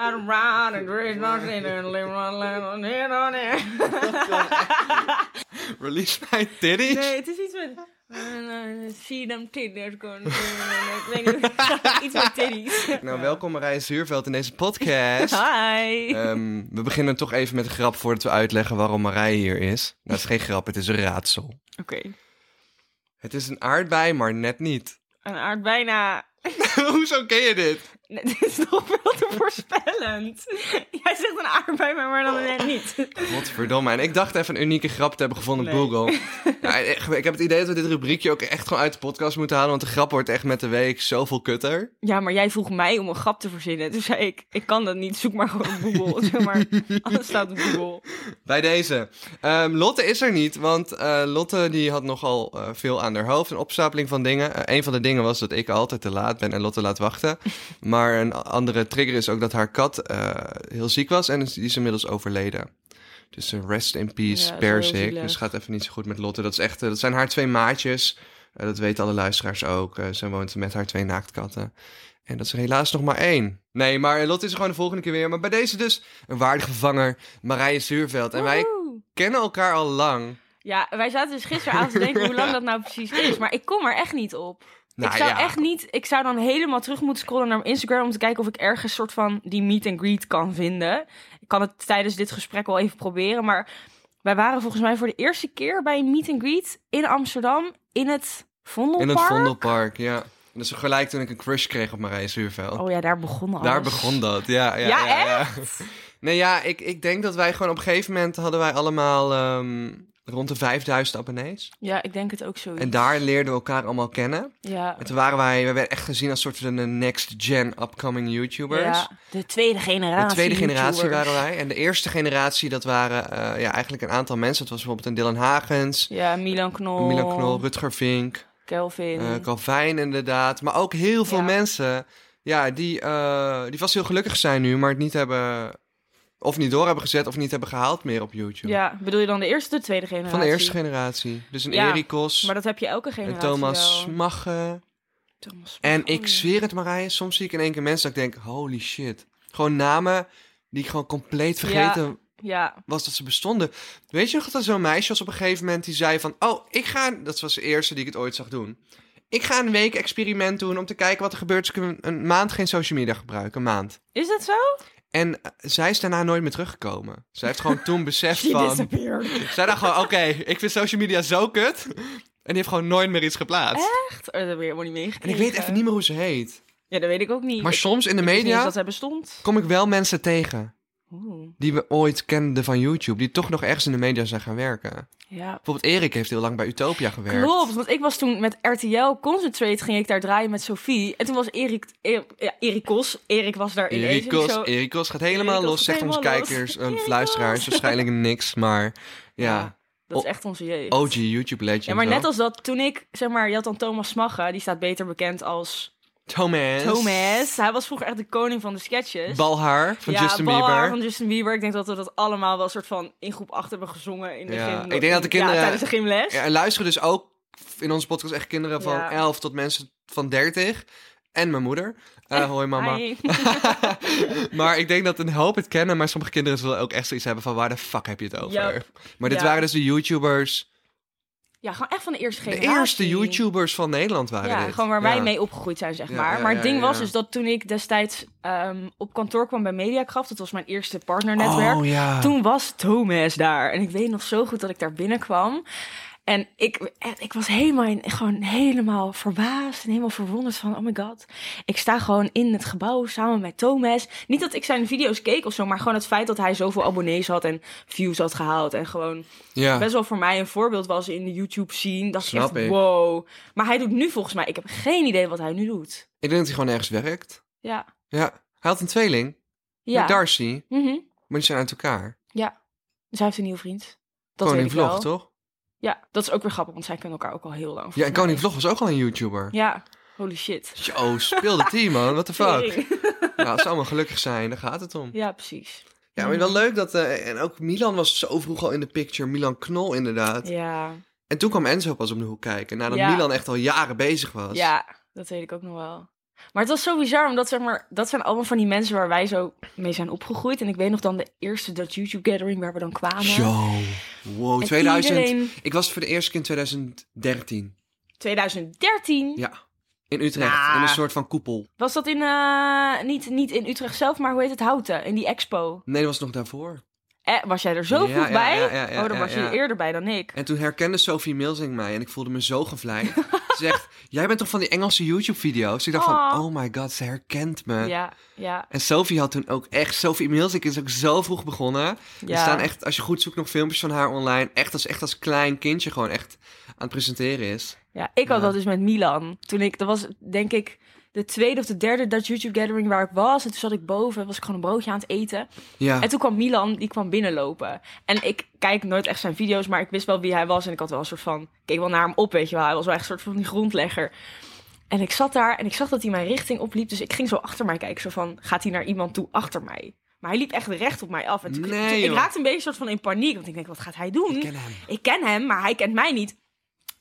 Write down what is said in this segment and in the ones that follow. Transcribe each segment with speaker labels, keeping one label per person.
Speaker 1: I'm riding, there's nothing and live my life on it on
Speaker 2: Release mijn titties?
Speaker 1: Nee, het is iets met... See them titties going... Ik weet niet. Iets met titties.
Speaker 2: Nou, welkom Marije Zuurveld in deze podcast.
Speaker 1: Hi.
Speaker 2: Ehm, we beginnen toch even met een grap voordat we uitleggen waarom Marije hier is. Nou, dat is geen grap, het is een raadsel.
Speaker 1: Oké.
Speaker 2: Het is een aardbei, maar net niet.
Speaker 1: Een aard bijna...
Speaker 2: Hoezo ken je dit?
Speaker 1: Nee, Dit is nog veel te voorspellend. Jij zegt een aardbei, maar maar dan net niet.
Speaker 2: Godverdomme. En ik dacht even een unieke grap te hebben gevonden op
Speaker 1: Nee.
Speaker 2: Google. Ja, ik ik heb het idee dat we dit rubriekje ook echt gewoon uit de podcast moeten halen. Want de grap wordt echt met de week zoveel kutter.
Speaker 1: Ja, maar jij vroeg mij om een grap te verzinnen. Toen zei ik, ik kan dat niet. Zoek maar gewoon op Google. Zeg maar, alles staat op Google.
Speaker 2: Bij deze. Ehm, Lotte is er niet, want eh, Lotte die had nogal eh, veel aan haar hoofd. Een opstapeling van dingen. Eh, een van de dingen was dat ik altijd te laat ben en Lotte laat wachten. Maar een a- andere trigger is ook dat haar kat eh, heel ziek was en is- die is inmiddels overleden. Dus een rest in
Speaker 1: Ja,
Speaker 2: peace,
Speaker 1: dat is wel heel
Speaker 2: persik.
Speaker 1: zielig.
Speaker 2: Dus het gaat even niet zo goed met Lotte. Dat, is echt, eh, dat zijn haar twee maatjes. Eh, dat weten alle luisteraars ook. Eh, ze woont met haar twee naaktkatten. En dat is er helaas nog maar één. Nee, maar Lotte is er gewoon de volgende keer weer. Maar bij deze dus een waardige vervanger, Marije Zuurveld. En wij
Speaker 1: Woehoe.
Speaker 2: kennen elkaar al lang.
Speaker 1: Ja, wij zaten dus gisteravond te denken hoe lang dat nou precies is. Maar ik kom er echt niet op.
Speaker 2: Nou
Speaker 1: ik zou echt niet... Ik zou dan helemaal terug moeten scrollen naar mijn Instagram... om te kijken of ik ergens soort van die meet and greet kan vinden. Ik kan het tijdens dit gesprek wel even proberen. Maar wij waren volgens mij voor de eerste keer bij een meet and greet... in Amsterdam, in het Vondelpark.
Speaker 2: In het Vondelpark, ja. En dat is gelijk toen ik een crush kreeg op Marije Zuurveld.
Speaker 1: Oh ja, daar begon alles.
Speaker 2: Daar begon dat, ja. Ja,
Speaker 1: Ja,
Speaker 2: echt? Nee, ja, ik, ik denk dat wij gewoon op een gegeven moment hadden wij allemaal ehm, rond de 5000 abonnees.
Speaker 1: Ja, ik denk het ook zo.
Speaker 2: En daar leerden we elkaar allemaal kennen.
Speaker 1: Ja.
Speaker 2: En toen waren wij, we werden echt gezien als soort van de next gen upcoming YouTubers.
Speaker 1: Ja, de tweede generatie.
Speaker 2: De tweede generatie
Speaker 1: YouTubers.
Speaker 2: waren wij. En de eerste generatie, dat waren eh, ja, eigenlijk een aantal mensen. Dat was bijvoorbeeld een Dylan Hagens,
Speaker 1: Ja, Milan Knol.
Speaker 2: Milan Knol, Rutger Vink,
Speaker 1: Kelvin.
Speaker 2: eh Calvijn inderdaad. Maar ook heel veel
Speaker 1: Ja.
Speaker 2: mensen ja, die, eh, die vast heel gelukkig zijn nu, maar het niet hebben... Of niet door hebben gezet of niet hebben gehaald meer op YouTube.
Speaker 1: ja, bedoel je dan de eerste, de tweede generatie?
Speaker 2: Van de eerste generatie. Dus een
Speaker 1: Ja,
Speaker 2: Erikos,
Speaker 1: Maar dat heb je elke
Speaker 2: een
Speaker 1: generatie
Speaker 2: Thomas
Speaker 1: wel. Oh.
Speaker 2: Smagge.
Speaker 1: Thomas Smit.
Speaker 2: En ik zweer het Marije, soms zie ik in één keer mensen dat ik denk, holy shit. Gewoon namen die ik gewoon compleet vergeten
Speaker 1: Ja,
Speaker 2: was dat ze bestonden. Weet je nog dat er zo'n meisje was op een gegeven moment die zei van... Oh, ik ga... Dat was de eerste die ik het ooit zag doen. Ik ga een week experiment doen om te kijken wat er gebeurt als ik een, een maand geen social media gebruik. Een maand.
Speaker 1: is dat zo?
Speaker 2: En eh, zij is daarna nooit meer teruggekomen. Zij heeft gewoon toen beseft
Speaker 1: She
Speaker 2: van...
Speaker 1: disappeared.
Speaker 2: Zij dacht gewoon, oké, ik vind social media zo kut. En die heeft gewoon nooit meer iets geplaatst.
Speaker 1: Echt? Oh, dat heb ik helemaal niet meegekregen.
Speaker 2: En ik weet even niet meer hoe ze heet.
Speaker 1: Ja, dat weet ik ook niet.
Speaker 2: Maar
Speaker 1: Ik-
Speaker 2: soms in de
Speaker 1: ik wist niet eens
Speaker 2: media
Speaker 1: dat hij bestond.
Speaker 2: kom ik wel mensen tegen
Speaker 1: Oeh,
Speaker 2: die we ooit kenden van YouTube. Die toch nog ergens in de media zijn gaan werken.
Speaker 1: ja.
Speaker 2: Bijvoorbeeld Erik heeft heel lang bij Utopia gewerkt.
Speaker 1: Klopt, want ik was toen met RTL Concentrate ging ik daar draaien met Sophie. En toen was Erik, Er- ja, Erik Kos, Erik was daar in
Speaker 2: Erik
Speaker 1: Erik
Speaker 2: Kos, Erik Kos gaat helemaal
Speaker 1: Erik Kos
Speaker 2: los,
Speaker 1: gaat
Speaker 2: zegt onze
Speaker 1: helemaal los.
Speaker 2: kijkers, eh,
Speaker 1: Erik Kos.
Speaker 2: luisteraars waarschijnlijk niks, maar ja,
Speaker 1: Ja, Dat is echt onze jeugd.
Speaker 2: OG YouTube legend.
Speaker 1: Ja, maar
Speaker 2: wel.
Speaker 1: net als dat, toen ik, zeg maar, je had dan Thomas Smagge, die staat beter bekend als
Speaker 2: Thomas,
Speaker 1: Thomas. Hij was vroeger echt de koning van de sketches.
Speaker 2: Balhaar van
Speaker 1: ja,
Speaker 2: Justin
Speaker 1: Balhaar
Speaker 2: Bieber.
Speaker 1: van Justin Bieber. Ik denk dat we dat allemaal wel soort van in groep 8 hebben gezongen in de
Speaker 2: Ja,
Speaker 1: gym.
Speaker 2: ik denk dat de kinderen-
Speaker 1: Ja, tijdens de gymles.
Speaker 2: Ja, en luisteren dus ook in onze podcast echt kinderen van
Speaker 1: Ja.
Speaker 2: 11 tot mensen van 30 en mijn moeder. Eh, hoi mama.
Speaker 1: Hi.
Speaker 2: maar ik denk dat een hoop het kennen, maar sommige kinderen zullen ook echt zoiets hebben van waar de fuck heb je het over?
Speaker 1: Yep.
Speaker 2: Maar dit
Speaker 1: Ja.
Speaker 2: waren dus de YouTubers,
Speaker 1: Ja, gewoon echt van de eerste
Speaker 2: de
Speaker 1: generatie.
Speaker 2: eerste YouTubers van Nederland waren
Speaker 1: Ja,
Speaker 2: dit.
Speaker 1: gewoon waar wij
Speaker 2: Ja.
Speaker 1: mee opgegroeid zijn, zeg
Speaker 2: Ja,
Speaker 1: maar.
Speaker 2: ja,
Speaker 1: maar het
Speaker 2: ja,
Speaker 1: ding was
Speaker 2: ja.
Speaker 1: dus dat toen ik destijds ehm, op kantoor kwam bij Mediakracht, dat was mijn eerste partnernetwerk.
Speaker 2: Oh ja.
Speaker 1: Toen was Thomas daar. En ik weet nog zo goed dat ik daar binnenkwam. En ik, en ik was helemaal, in- gewoon helemaal verbaasd en helemaal verwonderd van, oh my god. Ik sta gewoon in het gebouw samen met Thomas. Niet dat ik zijn video's keek of zo, maar gewoon het feit dat hij zoveel abonnees had en views had gehaald. En gewoon
Speaker 2: ja.
Speaker 1: best wel voor mij een voorbeeld was in de YouTube scene. Dat is
Speaker 2: Snap
Speaker 1: echt
Speaker 2: ik.
Speaker 1: wow. Maar hij doet nu volgens mij, ik heb geen idee wat hij nu doet.
Speaker 2: Ik denk dat hij gewoon ergens werkt.
Speaker 1: Ja.
Speaker 2: Ja, hij had een tweeling.
Speaker 1: Ja.
Speaker 2: Met Darcy.
Speaker 1: Mhm.
Speaker 2: Maar Maar die zijn uit elkaar.
Speaker 1: Dus hij heeft een nieuwe vriend. Dat
Speaker 2: Koning
Speaker 1: weet ik wel.
Speaker 2: Vlog, toch?
Speaker 1: Ja, dat is ook weer grappig, want zij kennen elkaar ook al heel lang.
Speaker 2: Ja, en
Speaker 1: volgens mij.
Speaker 2: Koning Vlog was ook al een YouTuber.
Speaker 1: Ja, holy shit.
Speaker 2: Yo, speel de team, man. What the fuck?
Speaker 1: Tering.
Speaker 2: Nou, als ze allemaal gelukkig zijn, daar gaat het om.
Speaker 1: Ja, precies.
Speaker 2: Ja, maar wel leuk dat... eh, en ook Milan was zo vroeg al in de picture. Milan Knol, inderdaad.
Speaker 1: Ja.
Speaker 2: En toen kwam Enzo pas om de hoek kijken. Nadat
Speaker 1: Ja.
Speaker 2: Milan echt al jaren bezig was.
Speaker 1: ja, dat weet ik ook nog wel. Maar het was zo bizar, omdat zeg maar, dat zijn allemaal van die mensen waar wij zo mee zijn opgegroeid. En ik weet nog dan de eerste Dutch YouTube Gathering waar we dan kwamen.
Speaker 2: Yo. Wow,
Speaker 1: En
Speaker 2: 2000...
Speaker 1: iedereen-
Speaker 2: Ik was voor de eerste keer in 2013.
Speaker 1: 2013.
Speaker 2: Ja. In Utrecht.
Speaker 1: Ah.
Speaker 2: In een soort van koepel.
Speaker 1: Was dat in, eh, niet, niet in Utrecht zelf, maar hoe heet het, Houten, in die expo.
Speaker 2: Nee, dat was nog daarvoor.
Speaker 1: Eh, was jij er zo
Speaker 2: Ja,
Speaker 1: vroeg
Speaker 2: ja,
Speaker 1: bij?
Speaker 2: ja, ja, ja,
Speaker 1: oh, dan
Speaker 2: ja,
Speaker 1: was
Speaker 2: ja.
Speaker 1: je eerder bij dan ik.
Speaker 2: En toen herkende Sophie Milsing mij en ik voelde me zo gevleid. ze zegt, jij bent toch van die Engelse YouTube-video's? Ik dacht van,
Speaker 1: Aw.
Speaker 2: oh my god, ze herkent me.
Speaker 1: Ja, ja,
Speaker 2: En Sophie had toen ook echt... Sophie Milsing is ook zo vroeg begonnen.
Speaker 1: ja.
Speaker 2: Er staan echt, als je goed zoekt, nog filmpjes van haar online. Echt als, echt als klein kindje gewoon echt aan het presenteren is.
Speaker 1: Ja, ik had
Speaker 2: Ja.
Speaker 1: dat dus met Milan. Toen ik, dat was denk ik de tweede of de derde Dutch YouTube Gathering waar ik was. En toen zat ik boven, was ik gewoon een broodje aan het eten.
Speaker 2: Ja.
Speaker 1: En toen kwam Milan, die kwam binnenlopen. En ik kijk nooit echt zijn video's, maar ik wist wel wie hij was. En ik had wel een soort van, ik keek wel naar hem op, weet je wel. Hij was wel echt een soort van die grondlegger. En ik zat daar en ik zag dat hij mijn richting opliep. Dus ik ging zo achter mij kijken, zo van, gaat hij naar iemand toe achter mij? Maar hij liep echt recht op mij af. En toen,
Speaker 2: Nee,
Speaker 1: toen- ik
Speaker 2: joh.
Speaker 1: raakte een beetje soort van in paniek. Want ik denk, wat gaat hij doen?
Speaker 2: Ik ken hem.
Speaker 1: Ik ken hem, maar hij kent mij niet.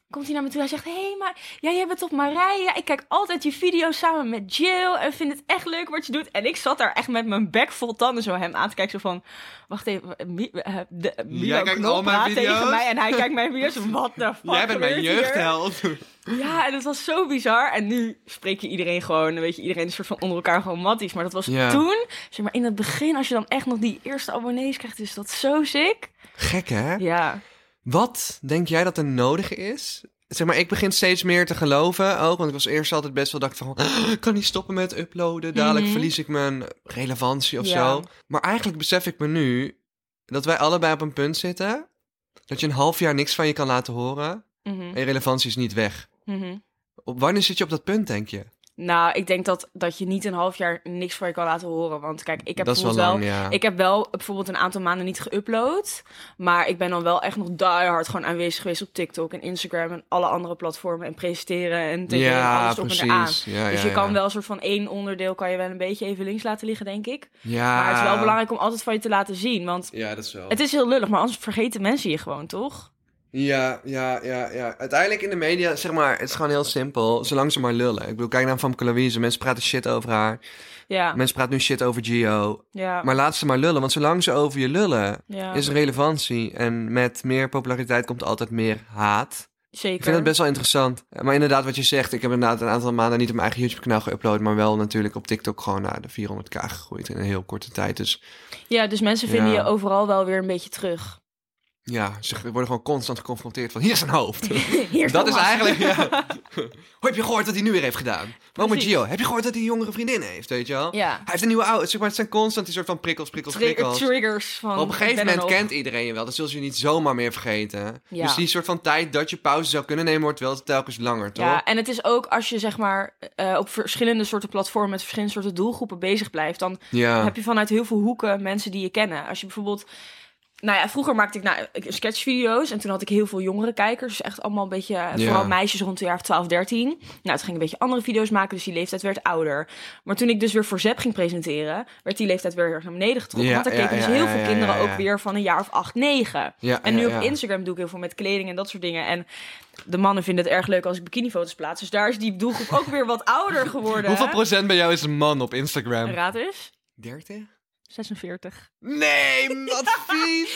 Speaker 1: Komt hij naar me toe, hij zegt, hé, hey, maar jij jij bent toch Marije? Ik kijk altijd je video's samen met Jill en vind het echt leuk wat je doet. En ik zat daar echt met mijn bek vol tanden zo hem aan te kijken, zo van, wacht even, eh, Mi- eh, de, Milo
Speaker 2: kijkt
Speaker 1: Knol
Speaker 2: al mijn
Speaker 1: praat
Speaker 2: video's?
Speaker 1: tegen mij en hij kijkt mijn video's, wat de fuck
Speaker 2: Jij bent mijn
Speaker 1: gebeurt hier?
Speaker 2: jeugdheld.
Speaker 1: Ja, en dat was zo bizar. En nu spreek je iedereen gewoon, weet je, iedereen is soort van onder elkaar gewoon matties. Maar dat was
Speaker 2: Ja.
Speaker 1: toen, zeg maar in het begin, als je dan echt nog die eerste abonnees krijgt, is dat zo sick.
Speaker 2: Gek, hè?
Speaker 1: Ja.
Speaker 2: Wat denk jij dat er nodig is? Zeg maar, ik begin steeds meer te geloven ook. Want ik was eerst altijd best wel dacht van... "Ah, ik kan niet stoppen met uploaden. Dadelijk
Speaker 1: Mhm.
Speaker 2: verlies ik mijn relevantie of
Speaker 1: Ja.
Speaker 2: zo. Maar eigenlijk besef ik me nu... dat wij allebei op een punt zitten... dat je een half jaar niks van je kan laten horen...
Speaker 1: Mhm,
Speaker 2: en je relevantie is niet weg.
Speaker 1: mhm.
Speaker 2: Op, wanneer zit je op dat punt, denk je?
Speaker 1: Nou, ik denk dat, dat je niet een half jaar niks van je kan laten horen. Want kijk, ik heb
Speaker 2: dat is wel
Speaker 1: bijvoorbeeld
Speaker 2: lang,
Speaker 1: wel...
Speaker 2: ja.
Speaker 1: Ik heb wel bijvoorbeeld een aantal maanden niet geüpload. Maar ik ben dan wel echt nog diehard gewoon aanwezig geweest op TikTok en Instagram en alle andere platformen. En presenteren en tv en
Speaker 2: ja,
Speaker 1: alles op en eraan.
Speaker 2: precies. Ja,
Speaker 1: Dus
Speaker 2: ja,
Speaker 1: je kan
Speaker 2: ja.
Speaker 1: wel een soort van één onderdeel kan je wel een beetje even links laten liggen, denk ik.
Speaker 2: Ja.
Speaker 1: Maar het is wel belangrijk om altijd van je te laten zien. Want
Speaker 2: Ja, dat is wel.
Speaker 1: het is heel lullig, maar anders vergeten mensen je gewoon, toch?
Speaker 2: Ja, ja, ja, ja. Uiteindelijk in de media, zeg maar, het is gewoon heel simpel. Zolang ze maar lullen. Ik bedoel, kijk naar Famke Louise. Mensen praten shit over haar.
Speaker 1: Ja,
Speaker 2: Mensen praten nu shit over Gio.
Speaker 1: ja,
Speaker 2: Maar laat ze maar lullen, want zolang ze over je lullen,
Speaker 1: ja.
Speaker 2: is er relevantie. En met meer populariteit komt altijd meer haat.
Speaker 1: zeker.
Speaker 2: Ik vind het best wel interessant. Maar inderdaad, wat je zegt, ik heb inderdaad een aantal maanden niet op mijn eigen YouTube-kanaal geüpload. Maar wel natuurlijk op TikTok gewoon naar de 400k gegroeid in een heel korte tijd. Dus
Speaker 1: Ja, dus mensen vinden
Speaker 2: Ja.
Speaker 1: je overal wel weer een beetje terug.
Speaker 2: ja, ze worden gewoon constant geconfronteerd van hier is een hoofd.
Speaker 1: Hier
Speaker 2: Dat is
Speaker 1: Thomas.
Speaker 2: eigenlijk. Ja. Hoe heb je gehoord dat hij nu weer heeft gedaan? Maar ook met
Speaker 1: Precies.
Speaker 2: Gio, heb je gehoord dat hij een jongere vriendin heeft? Weet je wel?
Speaker 1: Ja.
Speaker 2: Hij heeft een nieuwe oude. Zeg maar, het zijn constant die soort van prikkels, prikkels,
Speaker 1: Trigger,
Speaker 2: prikkels.
Speaker 1: triggers van.
Speaker 2: Maar op een gegeven
Speaker 1: ik ben er
Speaker 2: moment
Speaker 1: nog.
Speaker 2: kent iedereen je wel. Dat zullen ze je niet zomaar meer vergeten.
Speaker 1: Ja.
Speaker 2: Dus die soort van tijd dat je pauze zou kunnen nemen, wordt wel telkens langer, toch?
Speaker 1: Ja, en het is ook als je zeg maar eh, op verschillende soorten platformen met verschillende soorten doelgroepen bezig blijft, dan
Speaker 2: Ja.
Speaker 1: heb je vanuit heel veel hoeken mensen die je kennen. Als je bijvoorbeeld. Nou ja, vroeger maakte ik nou, ik- sketchvideo's en toen had ik heel veel jongere kijkers. Dus echt allemaal een beetje, eh,
Speaker 2: Ja.
Speaker 1: vooral meisjes rond de jaar of 12, 13. Nou, toen ging ik een beetje andere video's maken, dus die leeftijd werd ouder. Maar toen ik dus weer voor Zep ging presenteren, werd die leeftijd weer heel erg naar beneden getrokken.
Speaker 2: Ja,
Speaker 1: want daar
Speaker 2: ja,
Speaker 1: keken dus
Speaker 2: ja,
Speaker 1: heel
Speaker 2: ja,
Speaker 1: veel
Speaker 2: ja,
Speaker 1: kinderen
Speaker 2: ja, ja.
Speaker 1: ook weer van een jaar of 8, 9.
Speaker 2: Ja,
Speaker 1: En
Speaker 2: ja,
Speaker 1: nu
Speaker 2: ja.
Speaker 1: op Instagram doe ik heel veel met kleding en dat soort dingen. En de mannen vinden het erg leuk als ik bikinifoto's plaats. Dus daar is die doelgroep ook weer wat ouder geworden.
Speaker 2: Hoeveel procent bij jou is een man op Instagram?
Speaker 1: Raad eens.
Speaker 2: 30?
Speaker 1: 46.
Speaker 2: Nee, wat vies!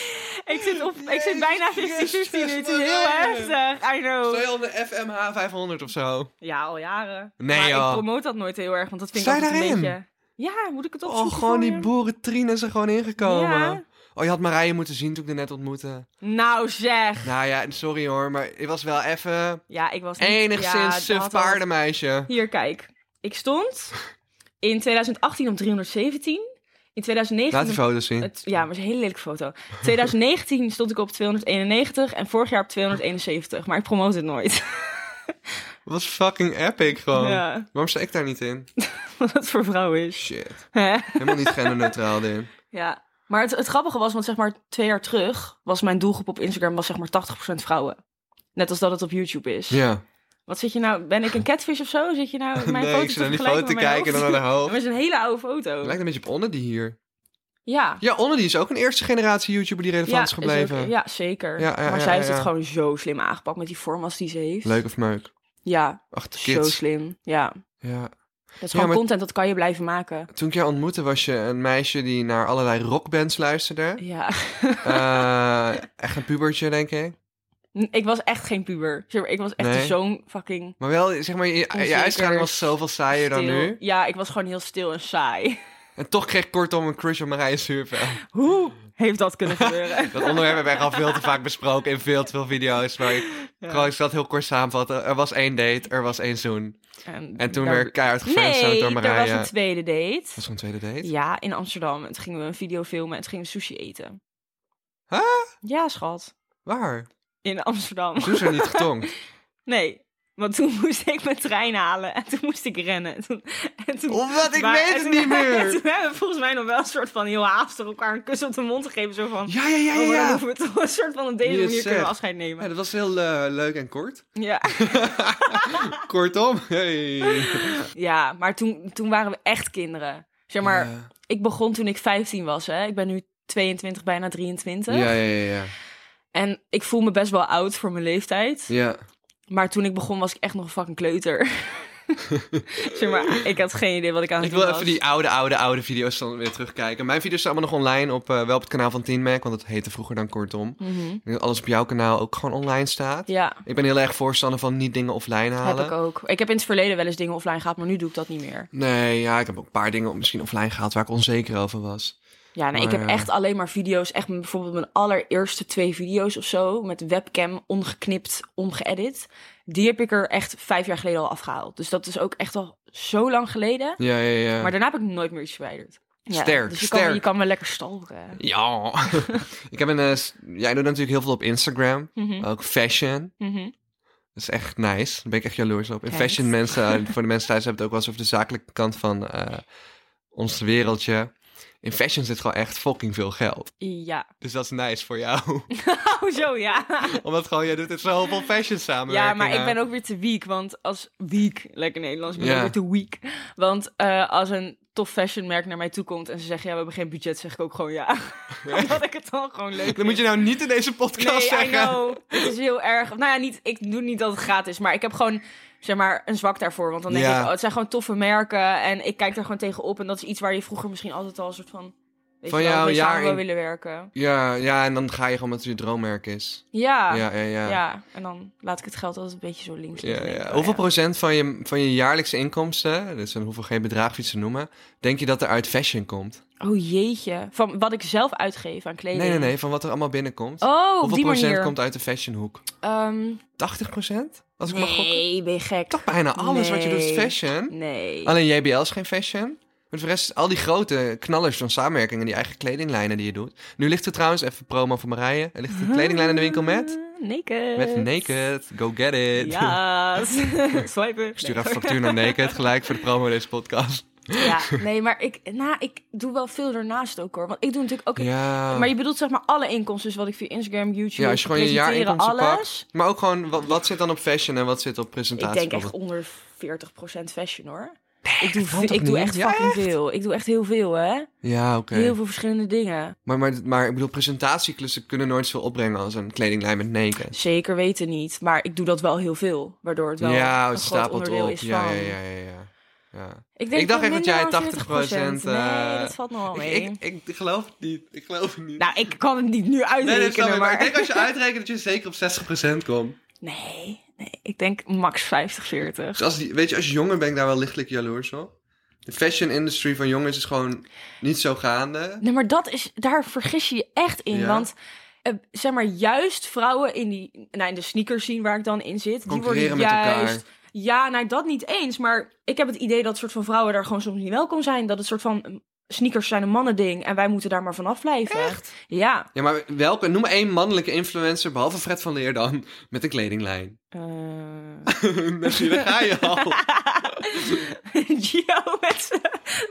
Speaker 1: Ik zit, op, ik zit bijna 50-50 nu. Het is
Speaker 2: Jezus,
Speaker 1: heel
Speaker 2: Christus.
Speaker 1: heftig. I
Speaker 2: Zou
Speaker 1: know.
Speaker 2: je al de FMH 500 of zo?
Speaker 1: Ja, al jaren.
Speaker 2: Nee,
Speaker 1: maar
Speaker 2: joh.
Speaker 1: ik promote dat nooit heel erg, want dat vind ik
Speaker 2: Sta je
Speaker 1: altijd een
Speaker 2: daarin?
Speaker 1: beetje... Ja, moet ik het opzoeken
Speaker 2: Oh, gewoon
Speaker 1: voor
Speaker 2: die
Speaker 1: je?
Speaker 2: boerentrien is er gewoon ingekomen.
Speaker 1: Ja.
Speaker 2: Oh, je had Marije moeten zien toen ik er net ontmoette.
Speaker 1: Nou zeg.
Speaker 2: Nou ja, sorry hoor, maar ik was wel even
Speaker 1: Ja, ik was niet... ja,
Speaker 2: enigszins
Speaker 1: dat
Speaker 2: suf
Speaker 1: had wel-
Speaker 2: paardenmeisje.
Speaker 1: Hier, kijk. Ik stond in 2018 op 317. In 2019...
Speaker 2: Laat die foto's zien.
Speaker 1: Het- ja, maar het is een hele lelijke foto. 2019 stond ik op 291 en vorig jaar op 271. Maar ik promote het nooit.
Speaker 2: was fucking epic gewoon.
Speaker 1: Ja,
Speaker 2: Waarom sta ik daar niet in?
Speaker 1: wat dat voor vrouw is.
Speaker 2: Shit.
Speaker 1: Hè?
Speaker 2: Helemaal niet genderneutraal, Din.
Speaker 1: Ja, Maar het, het grappige was, want zeg maar twee jaar terug was mijn doelgroep op Instagram was zeg maar 80% vrouwen. Net als dat het op YouTube is.
Speaker 2: Ja.
Speaker 1: Wat zit je nou? Ben ik een catfish of zo? Zit je nou mijn
Speaker 2: nee,
Speaker 1: foto
Speaker 2: ik
Speaker 1: te
Speaker 2: zit naar die
Speaker 1: vergelijken
Speaker 2: foto te
Speaker 1: met mijn
Speaker 2: kijken en dan
Speaker 1: hoofd?
Speaker 2: naar de hoofd.
Speaker 1: Dat is een hele oude foto.
Speaker 2: Het lijkt een beetje op Onne die hier.
Speaker 1: Ja.
Speaker 2: Ja, Onne die is ook een eerste generatie YouTuber die relevant
Speaker 1: Ja,
Speaker 2: is
Speaker 1: is
Speaker 2: gebleven.
Speaker 1: ook- ja, zeker.
Speaker 2: Ja, ja,
Speaker 1: maar
Speaker 2: ja,
Speaker 1: zij
Speaker 2: ja,
Speaker 1: heeft
Speaker 2: ja.
Speaker 1: het gewoon zo slim aangepakt met die formas die ze heeft.
Speaker 2: Leuk of meuk.
Speaker 1: Ja,
Speaker 2: Ach, de
Speaker 1: zo
Speaker 2: kids.
Speaker 1: slim. Ja,
Speaker 2: Ja.
Speaker 1: dat is gewoon
Speaker 2: maar-
Speaker 1: content, dat kan je blijven maken.
Speaker 2: Toen ik jou ontmoette was je een meisje die naar allerlei rockbands luisterde.
Speaker 1: Ja,
Speaker 2: Eh, echt een pubertje, denk ik.
Speaker 1: ik was echt geen puber. Zeg maar, Ik was echt
Speaker 2: Nee.
Speaker 1: zo'n fucking...
Speaker 2: Maar wel, zeg maar, je, je
Speaker 1: Onzeker.
Speaker 2: uitstraling was zoveel saaier dan
Speaker 1: stil-
Speaker 2: nu.
Speaker 1: Ja, ik was gewoon heel stil en saai.
Speaker 2: En toch kreeg ik kortom een crush op Marije Zuurveld.
Speaker 1: Hoe heeft dat kunnen gebeuren?
Speaker 2: Dat onderwerp hebben we echt al veel te vaak besproken in veel te veel video's. Maar ik, gewoon, ik zal het heel kort samenvatten. Er was één date, er was één zoen. En toen
Speaker 1: daar-
Speaker 2: werd ik keihard gefriendzoned
Speaker 1: Nee,
Speaker 2: door
Speaker 1: er was
Speaker 2: Marije.
Speaker 1: een tweede
Speaker 2: Was
Speaker 1: date.
Speaker 2: er een tweede date?
Speaker 1: Ja, in Amsterdam. En toen gingen we een video filmen en toen gingen we sushi eten.
Speaker 2: Huh?
Speaker 1: Ja, schat.
Speaker 2: Waar?
Speaker 1: In Amsterdam.
Speaker 2: Toen is er niet getongd.
Speaker 1: Nee, want toen moest ik mijn trein halen en toen moest ik rennen. En toen, en toen,
Speaker 2: Omdat ik
Speaker 1: maar-
Speaker 2: weet
Speaker 1: en
Speaker 2: het
Speaker 1: toen-
Speaker 2: niet meer.
Speaker 1: en toen hebben we volgens mij nog wel een soort van heel haastig elkaar een kus op de mond gegeven. Zo van,
Speaker 2: Ja, ja, ja, ja.
Speaker 1: oh, maar dan
Speaker 2: ja.
Speaker 1: hoeven we toch een soort van op deze
Speaker 2: Wie het
Speaker 1: manier kunnen we
Speaker 2: zegt.
Speaker 1: afscheid
Speaker 2: Ja,
Speaker 1: nemen.
Speaker 2: dat was heel eh, leuk en kort.
Speaker 1: Ja,
Speaker 2: Kortom. Hey.
Speaker 1: ja maar toen, toen waren we echt kinderen. Zeg maar,
Speaker 2: Ja.
Speaker 1: ik begon toen ik 15 was. Hè. Ik ben nu 22, bijna 23.
Speaker 2: Ja, ja, ja, ja.
Speaker 1: En ik voel me best wel oud voor mijn leeftijd.
Speaker 2: Ja.
Speaker 1: Maar toen ik begon was ik echt nog een fucking kleuter. zeg maar, ik had geen idee wat ik aan het
Speaker 2: Ik
Speaker 1: doen
Speaker 2: wil
Speaker 1: was.
Speaker 2: even die oude, oude, oude video's dan weer terugkijken. Mijn video's zijn allemaal nog online op, eh, wel op het kanaal van Teen Mac, want dat heette vroeger dan kortom. Ik
Speaker 1: Mhm.
Speaker 2: denk dat alles op jouw kanaal ook gewoon online staat.
Speaker 1: Ja,
Speaker 2: Ik ben heel erg voorstander van niet dingen offline halen.
Speaker 1: heb ik ook. Ik heb in het verleden wel eens dingen offline gehad, maar nu doe ik dat niet meer.
Speaker 2: Nee, ja, ik heb ook een paar dingen misschien offline gehaald waar ik onzeker over was.
Speaker 1: Ja, nee, ik
Speaker 2: Maar,
Speaker 1: heb
Speaker 2: eh,
Speaker 1: echt alleen maar video's. Echt mijn- bijvoorbeeld mijn allereerste twee video's of zo. Met webcam ongeknipt, ongeëdit. Die heb ik er echt vijf jaar geleden al afgehaald. Dus dat is ook echt al zo lang geleden.
Speaker 2: Ja, ja, ja.
Speaker 1: Maar daarna heb ik nooit meer iets verwijderd. Ja,
Speaker 2: Sterk,
Speaker 1: dus je kan,
Speaker 2: sterk.
Speaker 1: je kan me lekker stalken.
Speaker 2: Ja. ik heb een... eh, s- jij doet natuurlijk heel veel op Instagram.
Speaker 1: Mhm,
Speaker 2: Ook fashion.
Speaker 1: mhm.
Speaker 2: Dat is echt nice. Daar ben ik echt jaloers op. En
Speaker 1: Thanks.
Speaker 2: fashion mensen, eh, voor de mensen thuis, hebben het ook wel eens over de zakelijke kant van eh, ons wereldje. In fashion zit gewoon echt fucking veel geld.
Speaker 1: Ja.
Speaker 2: Dus dat is nice voor jou.
Speaker 1: Oh, zo ja.
Speaker 2: Omdat gewoon, jij doet het zoveel fashion samenwerking. eh.
Speaker 1: Ja, maar ik ben ook weer te weak, want als weak, lekker Nederlands, ben ik
Speaker 2: Ja.
Speaker 1: weer te weak. Want eh, als een tof fashionmerk naar mij toe komt en ze zeggen, ja, we hebben geen budget, zeg ik ook gewoon ja. Omdat ik het dan gewoon leuk
Speaker 2: Dan moet je nou niet in deze podcast
Speaker 1: Nee, I
Speaker 2: zeggen.
Speaker 1: know. Het is heel erg. Nou ja, niet, ik doe niet dat het gratis, maar ik heb gewoon zeg maar een zwak daarvoor. Want dan denk
Speaker 2: Ja.
Speaker 1: ik, oh, het zijn gewoon toffe merken en ik kijk daar gewoon tegenop. En dat is iets waar je vroeger misschien altijd al een soort van... Weet
Speaker 2: Van
Speaker 1: je wel,
Speaker 2: jou,
Speaker 1: mee
Speaker 2: ja,
Speaker 1: samen wil
Speaker 2: in-
Speaker 1: willen werken.
Speaker 2: Ja, ja, en dan ga je gewoon met je droommerk is.
Speaker 1: Ja. Ja,
Speaker 2: Ja, ja, ja.
Speaker 1: en dan laat ik het geld altijd een beetje zo links
Speaker 2: Ja,
Speaker 1: liggen, denk ik
Speaker 2: ja.
Speaker 1: wel,
Speaker 2: Hoeveel
Speaker 1: Oh, ja.
Speaker 2: procent van je, van je jaarlijkse inkomsten, dus dan hoeven we geen bedrag iets te noemen, denk je dat er uit fashion komt?
Speaker 1: Oh jeetje. Van wat ik zelf uitgeef aan kleding.
Speaker 2: Nee, nee, nee, van wat er allemaal binnenkomt.
Speaker 1: Oh, op
Speaker 2: Hoeveel
Speaker 1: die
Speaker 2: procent
Speaker 1: manier. Ehm,
Speaker 2: komt uit de fashionhoek? 80 procent? Als ik mag gokken?
Speaker 1: nee, ben je gek.
Speaker 2: Toch bijna alles wat je doet is
Speaker 1: Nee.
Speaker 2: fashion.
Speaker 1: Nee.
Speaker 2: Alleen JBL is geen fashion. Maar voor de rest, al die grote knallers van samenwerkingen, die eigen kledinglijnen die je doet. Nu ligt er trouwens, even promo van Marije, er ligt een kledinglijn in de winkel met...
Speaker 1: Mm, Naked.
Speaker 2: Met Naked, go get it.
Speaker 1: Ja. Swipen.
Speaker 2: Ik Stuur even factuur naar Naked, gelijk voor de promo deze podcast.
Speaker 1: Ja, nee, maar ik, nou, ik doe wel veel daarnaast ook hoor. Want ik doe natuurlijk ook...
Speaker 2: Ja.
Speaker 1: Maar je bedoelt zeg maar alle inkomsten. Dus wat ik via Instagram, YouTube,
Speaker 2: Ja, als je gewoon je
Speaker 1: presenteren,
Speaker 2: jaarinkomsten
Speaker 1: alles.
Speaker 2: Maar ook gewoon, wat, wat zit dan op fashion en wat zit op
Speaker 1: Ik
Speaker 2: presentatie?
Speaker 1: denk echt onder 40% fashion hoor. ik doe,
Speaker 2: kan
Speaker 1: ve-
Speaker 2: toch
Speaker 1: ik doe
Speaker 2: niet?
Speaker 1: echt
Speaker 2: Ja,
Speaker 1: fucking veel. Ik doe echt heel veel, hè?
Speaker 2: Ja, oké.
Speaker 1: Heel veel verschillende dingen.
Speaker 2: Maar, maar, maar ik bedoel, presentatieklussen kunnen nooit zoveel opbrengen als een kledinglijn met Naked.
Speaker 1: Zeker weten niet, maar ik doe dat wel heel veel, waardoor het wel
Speaker 2: ja,
Speaker 1: een
Speaker 2: het
Speaker 1: groot
Speaker 2: stapelt
Speaker 1: onderdeel
Speaker 2: op.
Speaker 1: is
Speaker 2: ja,
Speaker 1: van.
Speaker 2: ja, ja, ja, ja. ja.
Speaker 1: Ik,
Speaker 2: Ik dacht
Speaker 1: wel
Speaker 2: echt dat jij
Speaker 1: minder dan
Speaker 2: 80%,
Speaker 1: 40%. Nee,
Speaker 2: eh,
Speaker 1: dat valt nog wel mee.
Speaker 2: Ik, ik, ik geloof het niet. Ik geloof het niet.
Speaker 1: Oh, nou, ik kan het niet nu
Speaker 2: nee,
Speaker 1: uitrekenen,
Speaker 2: dat snap ik. Maar ik denk
Speaker 1: maar...
Speaker 2: als je uitrekent dat je zeker op 60% komt.
Speaker 1: Nee, nee, ik denk max 50, 40.
Speaker 2: Dus als die, weet je, als jonger ben ik daar wel lichtelijk jaloers op. De fashion industry van jongens is gewoon niet zo gaande.
Speaker 1: Nee, maar dat is, daar vergis je je echt in,
Speaker 2: Ja.
Speaker 1: want... eh, zeg maar, juist vrouwen in, die, nou, in de sneakers zien waar ik dan in zit... Die
Speaker 2: Concurreren
Speaker 1: worden
Speaker 2: met elkaar.
Speaker 1: juist Ja, nou dat niet eens. Maar ik heb het idee dat soort van vrouwen daar gewoon soms niet welkom zijn. Dat het soort van mm, sneakers zijn een mannending en wij moeten daar maar vanaf blijven. Echt? Ja.
Speaker 2: Ja, maar welke? Noem maar één mannelijke influencer, behalve Fred van Leer dan, met een kledinglijn.
Speaker 1: Eh,
Speaker 2: Daar ga je al.
Speaker 1: Gio met zijn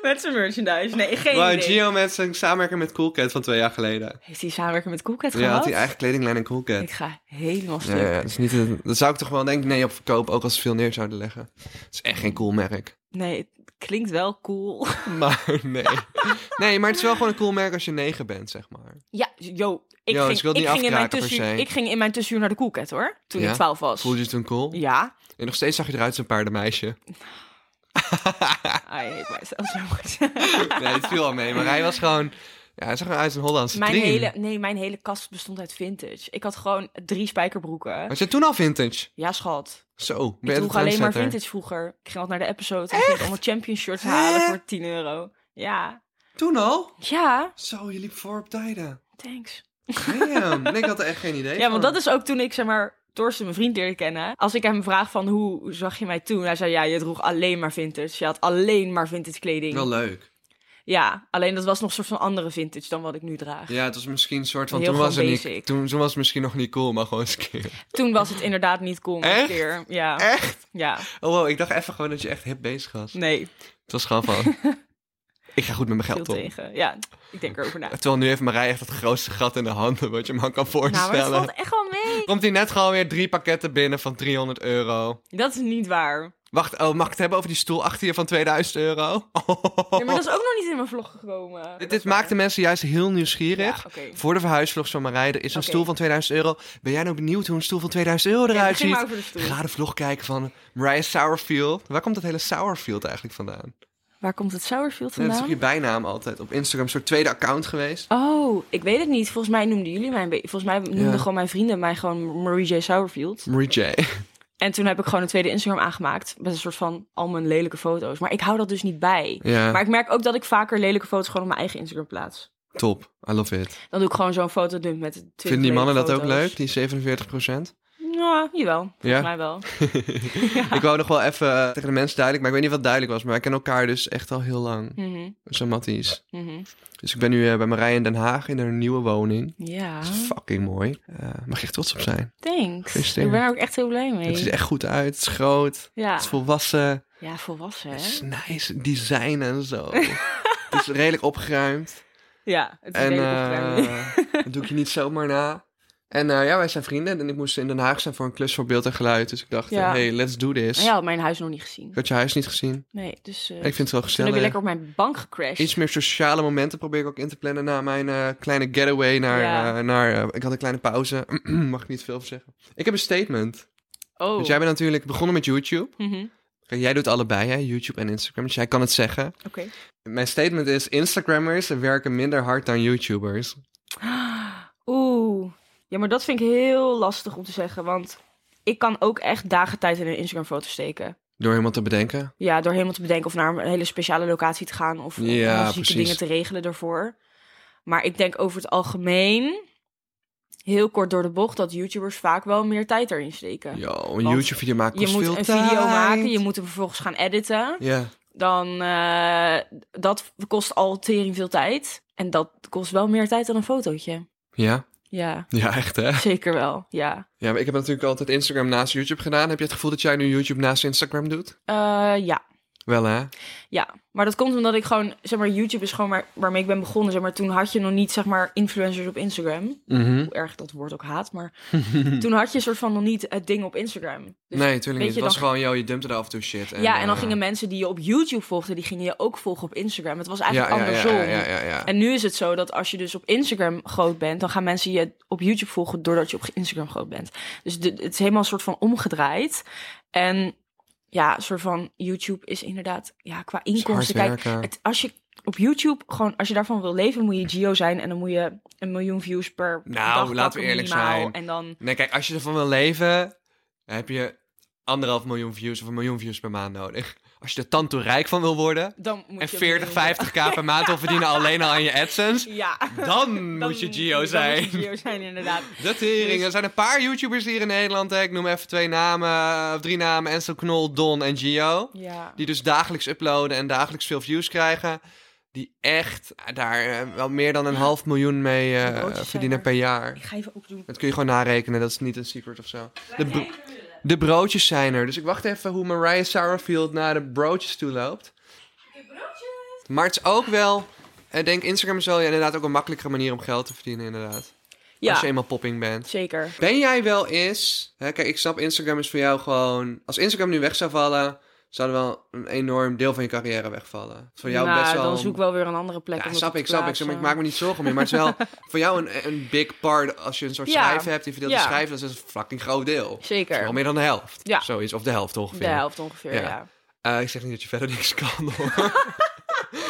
Speaker 1: Met zijn merchandise. Nee, geen
Speaker 2: Waar
Speaker 1: idee.
Speaker 2: Gio met zijn samenwerking met Coolcat van twee jaar geleden.
Speaker 1: Heeft hij samenwerking met Coolcat
Speaker 2: Ja,
Speaker 1: gehad?
Speaker 2: had hij eigen kledinglijn en Coolcat.
Speaker 1: Ik ga helemaal
Speaker 2: Ja,
Speaker 1: stuk.
Speaker 2: ja, dat, is niet, een- dat zou ik toch wel denken, nee, op verkoop, ook als ze veel neer zouden leggen. Het is echt geen cool merk.
Speaker 1: Nee, het klinkt wel cool.
Speaker 2: Maar nee. Nee, maar het is wel gewoon een cool merk als je negen bent, zeg maar.
Speaker 1: Ja, yo. Ik,
Speaker 2: Yo, dus
Speaker 1: ging,
Speaker 2: ik wil het
Speaker 1: ik,
Speaker 2: niet
Speaker 1: ging in mijn
Speaker 2: afkraken per
Speaker 1: tussenuur,
Speaker 2: se.
Speaker 1: ik ging in mijn tussenuur naar de Coolcat hoor. Toen
Speaker 2: Ja?
Speaker 1: ik 12 was.
Speaker 2: Voelde je het toen cool?
Speaker 1: Ja.
Speaker 2: En nog steeds zag je eruit als een paardenmeisje.
Speaker 1: I hate myself so much.
Speaker 2: Nee, het viel al mee, maar hij was gewoon... Ja, hij zag eruit als een Hollandse
Speaker 1: mijn
Speaker 2: trien.
Speaker 1: hele, nee, mijn hele kast bestond uit vintage. Ik had gewoon drie spijkerbroeken.
Speaker 2: Was je toen al vintage?
Speaker 1: Ja, schat.
Speaker 2: Zo, ben
Speaker 1: Ik
Speaker 2: je
Speaker 1: droeg alleen
Speaker 2: de
Speaker 1: maar
Speaker 2: trendsetter.
Speaker 1: vintage vroeger. Ik ging altijd naar de episode en ging allemaal champion shirts halen
Speaker 2: Hè?
Speaker 1: voor 10 euro. Ja.
Speaker 2: Toen al?
Speaker 1: Ja,
Speaker 2: Zo, je liep voor op tijden.
Speaker 1: thanks.
Speaker 2: Damn. Nee, ik had er echt geen idee
Speaker 1: Ja, want dat is ook toen ik, zeg maar, Torsten mijn vriend leerde kennen. Als ik hem vraag van, hoe zag je mij toen? Hij zei, ja, je droeg alleen maar vintage. Je had alleen maar vintage kleding.
Speaker 2: Wel leuk.
Speaker 1: Ja, alleen dat was nog een soort van andere vintage dan wat ik nu draag.
Speaker 2: Ja, het was misschien een soort van...
Speaker 1: Heel
Speaker 2: Toen was, het
Speaker 1: gewoon
Speaker 2: niet,
Speaker 1: basic.
Speaker 2: toen, toen was het misschien nog niet cool, maar gewoon eens een keer.
Speaker 1: Toen was het inderdaad niet cool. maar
Speaker 2: Echt?
Speaker 1: Keer. Ja.
Speaker 2: Echt?
Speaker 1: ja,
Speaker 2: Oh wow, ik dacht even gewoon dat je echt hip bezig was.
Speaker 1: nee,
Speaker 2: Het was gewoon van... ik ga goed met mijn
Speaker 1: veel
Speaker 2: geld om.
Speaker 1: tegen. Ja, ik denk erover na.
Speaker 2: Terwijl nu heeft Marij echt het grootste gat in de handen wat je me kan
Speaker 1: Nou, maar
Speaker 2: voorstellen.
Speaker 1: het e- valt echt wel mee.
Speaker 2: Komt hij net gewoon weer drie pakketten binnen van 300 euro.
Speaker 1: Dat is niet waar.
Speaker 2: Wacht, oh, mag ik het hebben over die stoel achter je van 2000 euro?
Speaker 1: Nee, maar dat is ook nog niet in mijn vlog gekomen.
Speaker 2: dit dit maakt de mensen juist heel nieuwsgierig.
Speaker 1: Ja, oké.
Speaker 2: Voor de verhuisvlog van Marij, er is een
Speaker 1: Oké.
Speaker 2: stoel van 2000 euro. Ben jij nou benieuwd hoe een stoel van 2000 euro
Speaker 1: Ja,
Speaker 2: eruit
Speaker 1: begin maar
Speaker 2: ziet?
Speaker 1: over de stoel.
Speaker 2: Ga de vlog kijken van Mariah Sourfield. Waar komt dat hele Sourfield eigenlijk vandaan?
Speaker 1: Waar komt het Sourfield
Speaker 2: Ja, dat is toch
Speaker 1: vandaan?
Speaker 2: je bijnaam altijd. Op Instagram een soort tweede account geweest.
Speaker 1: Oh, ik weet het niet. Volgens mij noemden jullie mij een beetje. Volgens mij noemden
Speaker 2: Ja.
Speaker 1: gewoon mijn vrienden mij gewoon Marie J. Sourfield.
Speaker 2: Marie J.
Speaker 1: En toen heb ik gewoon een tweede Instagram aangemaakt. Met een soort van al mijn lelijke foto's. Maar ik hou dat dus niet bij.
Speaker 2: Ja,
Speaker 1: Maar ik merk ook dat ik vaker lelijke foto's gewoon op mijn eigen Instagram plaats.
Speaker 2: top. I love it.
Speaker 1: Dan doe ik gewoon zo'n fotodump met 20
Speaker 2: Vinden die mannen dat
Speaker 1: lelijke
Speaker 2: ook leuk,
Speaker 1: foto's.
Speaker 2: die 47
Speaker 1: Ja, jawel. Volgens
Speaker 2: Ja?
Speaker 1: mij wel.
Speaker 2: Ik wou nog wel even eh, tegen de mensen duidelijk, maar ik weet niet wat duidelijk was. Maar wij kennen elkaar dus echt al heel lang.
Speaker 1: Mhm,
Speaker 2: Zo matties.
Speaker 1: mhm.
Speaker 2: Dus ik ben nu eh, bij Marij in Den Haag in haar nieuwe woning.
Speaker 1: Ja,
Speaker 2: Dat is fucking mooi. Eh mag je echt trots op zijn.
Speaker 1: thanks.
Speaker 2: Gefeliciteerd.
Speaker 1: Ik ben er ook echt heel blij mee.
Speaker 2: Het ziet er echt goed uit. Het is groot.
Speaker 1: ja.
Speaker 2: Het is volwassen.
Speaker 1: Ah. ja, volwassen
Speaker 2: Het
Speaker 1: hè?
Speaker 2: is nice design en zo. het is redelijk opgeruimd.
Speaker 1: Ja, het is
Speaker 2: en
Speaker 1: een
Speaker 2: eh, dat doe ik je niet zomaar na. En eh, ja, wij zijn vrienden. En ik moest in Den Haag zijn voor een klus voor beeld en geluid. Dus ik dacht, eh,
Speaker 1: Ja.
Speaker 2: hey, let's do this.
Speaker 1: Ja, mijn huis nog niet gezien.
Speaker 2: Ik had je huis niet gezien.
Speaker 1: Nee, dus eh,
Speaker 2: Ik vind het wel
Speaker 1: toen heb je
Speaker 2: gezellig.
Speaker 1: lekker op mijn bank gecrashed.
Speaker 2: Iets meer sociale momenten probeer ik ook in te plannen na mijn eh, kleine getaway naar...
Speaker 1: Ja.
Speaker 2: eh, naar eh, ik had een kleine pauze. Mag ik niet veel over zeggen. Ik heb een statement.
Speaker 1: Oh.
Speaker 2: Want dus jij bent natuurlijk begonnen met YouTube.
Speaker 1: Mhm.
Speaker 2: Kijk, jij doet allebei, hè? YouTube en Instagram. Dus jij kan het zeggen.
Speaker 1: Oké.
Speaker 2: Mijn statement is: Instagrammers werken minder hard dan YouTubers.
Speaker 1: Oeh. Ja, maar dat vind ik heel lastig om te zeggen, want ik kan ook echt dagen tijd in een Instagram-foto steken.
Speaker 2: Door helemaal te bedenken.
Speaker 1: Ja, door helemaal te bedenken of naar een hele speciale locatie te gaan of om
Speaker 2: Ja,
Speaker 1: allemaal zieke
Speaker 2: precies.
Speaker 1: dingen te regelen daarvoor. Maar ik denk over het algemeen, heel kort door de bocht, dat YouTubers vaak wel meer tijd erin steken.
Speaker 2: Yo, een
Speaker 1: Want
Speaker 2: YouTube-video maken
Speaker 1: Je
Speaker 2: kost
Speaker 1: moet
Speaker 2: veel
Speaker 1: een
Speaker 2: tijd.
Speaker 1: video maken, je moet hem vervolgens gaan editen.
Speaker 2: Ja,
Speaker 1: dan eh, dat kost al tering veel tijd. En dat kost wel meer tijd dan een fotootje.
Speaker 2: ja,
Speaker 1: Ja,
Speaker 2: ja, echt hè?
Speaker 1: zeker wel. Ja.
Speaker 2: Ja, maar ik heb natuurlijk altijd Instagram naast YouTube gedaan. Heb je het gevoel dat jij nu YouTube naast Instagram doet?
Speaker 1: Eh, ja.
Speaker 2: Wel hè?
Speaker 1: Dus ja, maar dat komt omdat ik gewoon, zeg maar, YouTube is gewoon waar, waarmee ik ben begonnen. Zeg maar, toen had je nog niet, zeg maar, influencers op Instagram.
Speaker 2: Mhm.
Speaker 1: Hoe erg ik dat woord ook haat, maar toen had je soort van nog niet het ding op Instagram. Dus-
Speaker 2: nee, tuurlijk niet.
Speaker 1: je,
Speaker 2: Het was
Speaker 1: dan-
Speaker 2: gewoon, yo, je dumpte er af en toe shit.
Speaker 1: ja, en dan
Speaker 2: eh,
Speaker 1: gingen mensen die je op YouTube volgden, die gingen je ook volgen op Instagram. Het was
Speaker 2: ja,
Speaker 1: eigenlijk
Speaker 2: ja,
Speaker 1: andersom.
Speaker 2: Ja, ja, ja, ja.
Speaker 1: En nu is het zo dat als je dus op Instagram groot bent, dan gaan mensen je op YouTube volgen doordat je op Instagram groot bent. Dus de- het is helemaal een soort van omgedraaid. En ja, een soort van YouTube is inderdaad, ja, qua inkomsten. Kijk,
Speaker 2: werken.
Speaker 1: het, als je op YouTube gewoon, als je daarvan wil leven, moet je Geo zijn en dan moet je een miljoen views per
Speaker 2: Nou,
Speaker 1: dag
Speaker 2: laten we
Speaker 1: pakken
Speaker 2: eerlijk
Speaker 1: minimaal.
Speaker 2: zijn.
Speaker 1: En dan,
Speaker 2: Nee, kijk, als je ervan wil leven, dan heb je anderhalf miljoen views of een miljoen views per maand nodig. Als je er tanto rijk van wil worden
Speaker 1: dan moet
Speaker 2: en
Speaker 1: je een
Speaker 2: 40,
Speaker 1: miljoen-
Speaker 2: 50k per maand wil verdienen alleen al aan je AdSense,
Speaker 1: Ja.
Speaker 2: dan, moet je Gio zijn.
Speaker 1: Dan moet je Geo zijn, inderdaad.
Speaker 2: De tering. Er zijn een paar YouTubers hier in Nederland. Hè. Ik noem even twee namen, eh, of drie namen. Enzo Knol, Don en Gio.
Speaker 1: Ja.
Speaker 2: Die dus dagelijks uploaden en dagelijks veel views krijgen. Die echt daar eh, wel meer dan een half miljoen mee eh,
Speaker 1: De broodjes zijn
Speaker 2: verdienen
Speaker 1: er.
Speaker 2: per jaar.
Speaker 1: Ik ga even opdoen.
Speaker 2: Dat kun je gewoon narekenen, dat is niet een secret of zo. De, bro- de broodjes zijn er. Dus ik wacht even hoe Mariah Sarafield naar de broodjes toe loopt. Maar het is ook wel... Ik denk, Instagram is wel ja, inderdaad ook een makkelijkere manier om geld te verdienen, inderdaad. Als
Speaker 1: Ja,
Speaker 2: je eenmaal popping bent.
Speaker 1: zeker.
Speaker 2: Ben jij wel eens... Hè, kijk, ik snap, Instagram is voor jou gewoon... Als Instagram nu weg zou vallen, zou er wel een enorm deel van je carrière wegvallen. Voor jou
Speaker 1: nou,
Speaker 2: best wel...
Speaker 1: dan
Speaker 2: een-
Speaker 1: zoek ik wel weer een andere plek.
Speaker 2: Ja,
Speaker 1: om dat
Speaker 2: snap
Speaker 1: te
Speaker 2: ik, snap ik. Zeg maar, Ik
Speaker 1: plaatsen.
Speaker 2: maak me niet zorgen meer. Maar het is wel voor jou een, een big part als je een soort
Speaker 1: Ja.
Speaker 2: schrijven hebt. Die verdeelt
Speaker 1: Ja.
Speaker 2: schrijven, dat is een fucking groot deel. Dat is wel
Speaker 1: Zeker.
Speaker 2: meer dan de helft.
Speaker 1: Ja.
Speaker 2: Zoiets, of de helft ongeveer.
Speaker 1: De helft ongeveer,
Speaker 2: Ja.
Speaker 1: ja.
Speaker 2: Eh, ik zeg niet dat je verder niks kan hoor.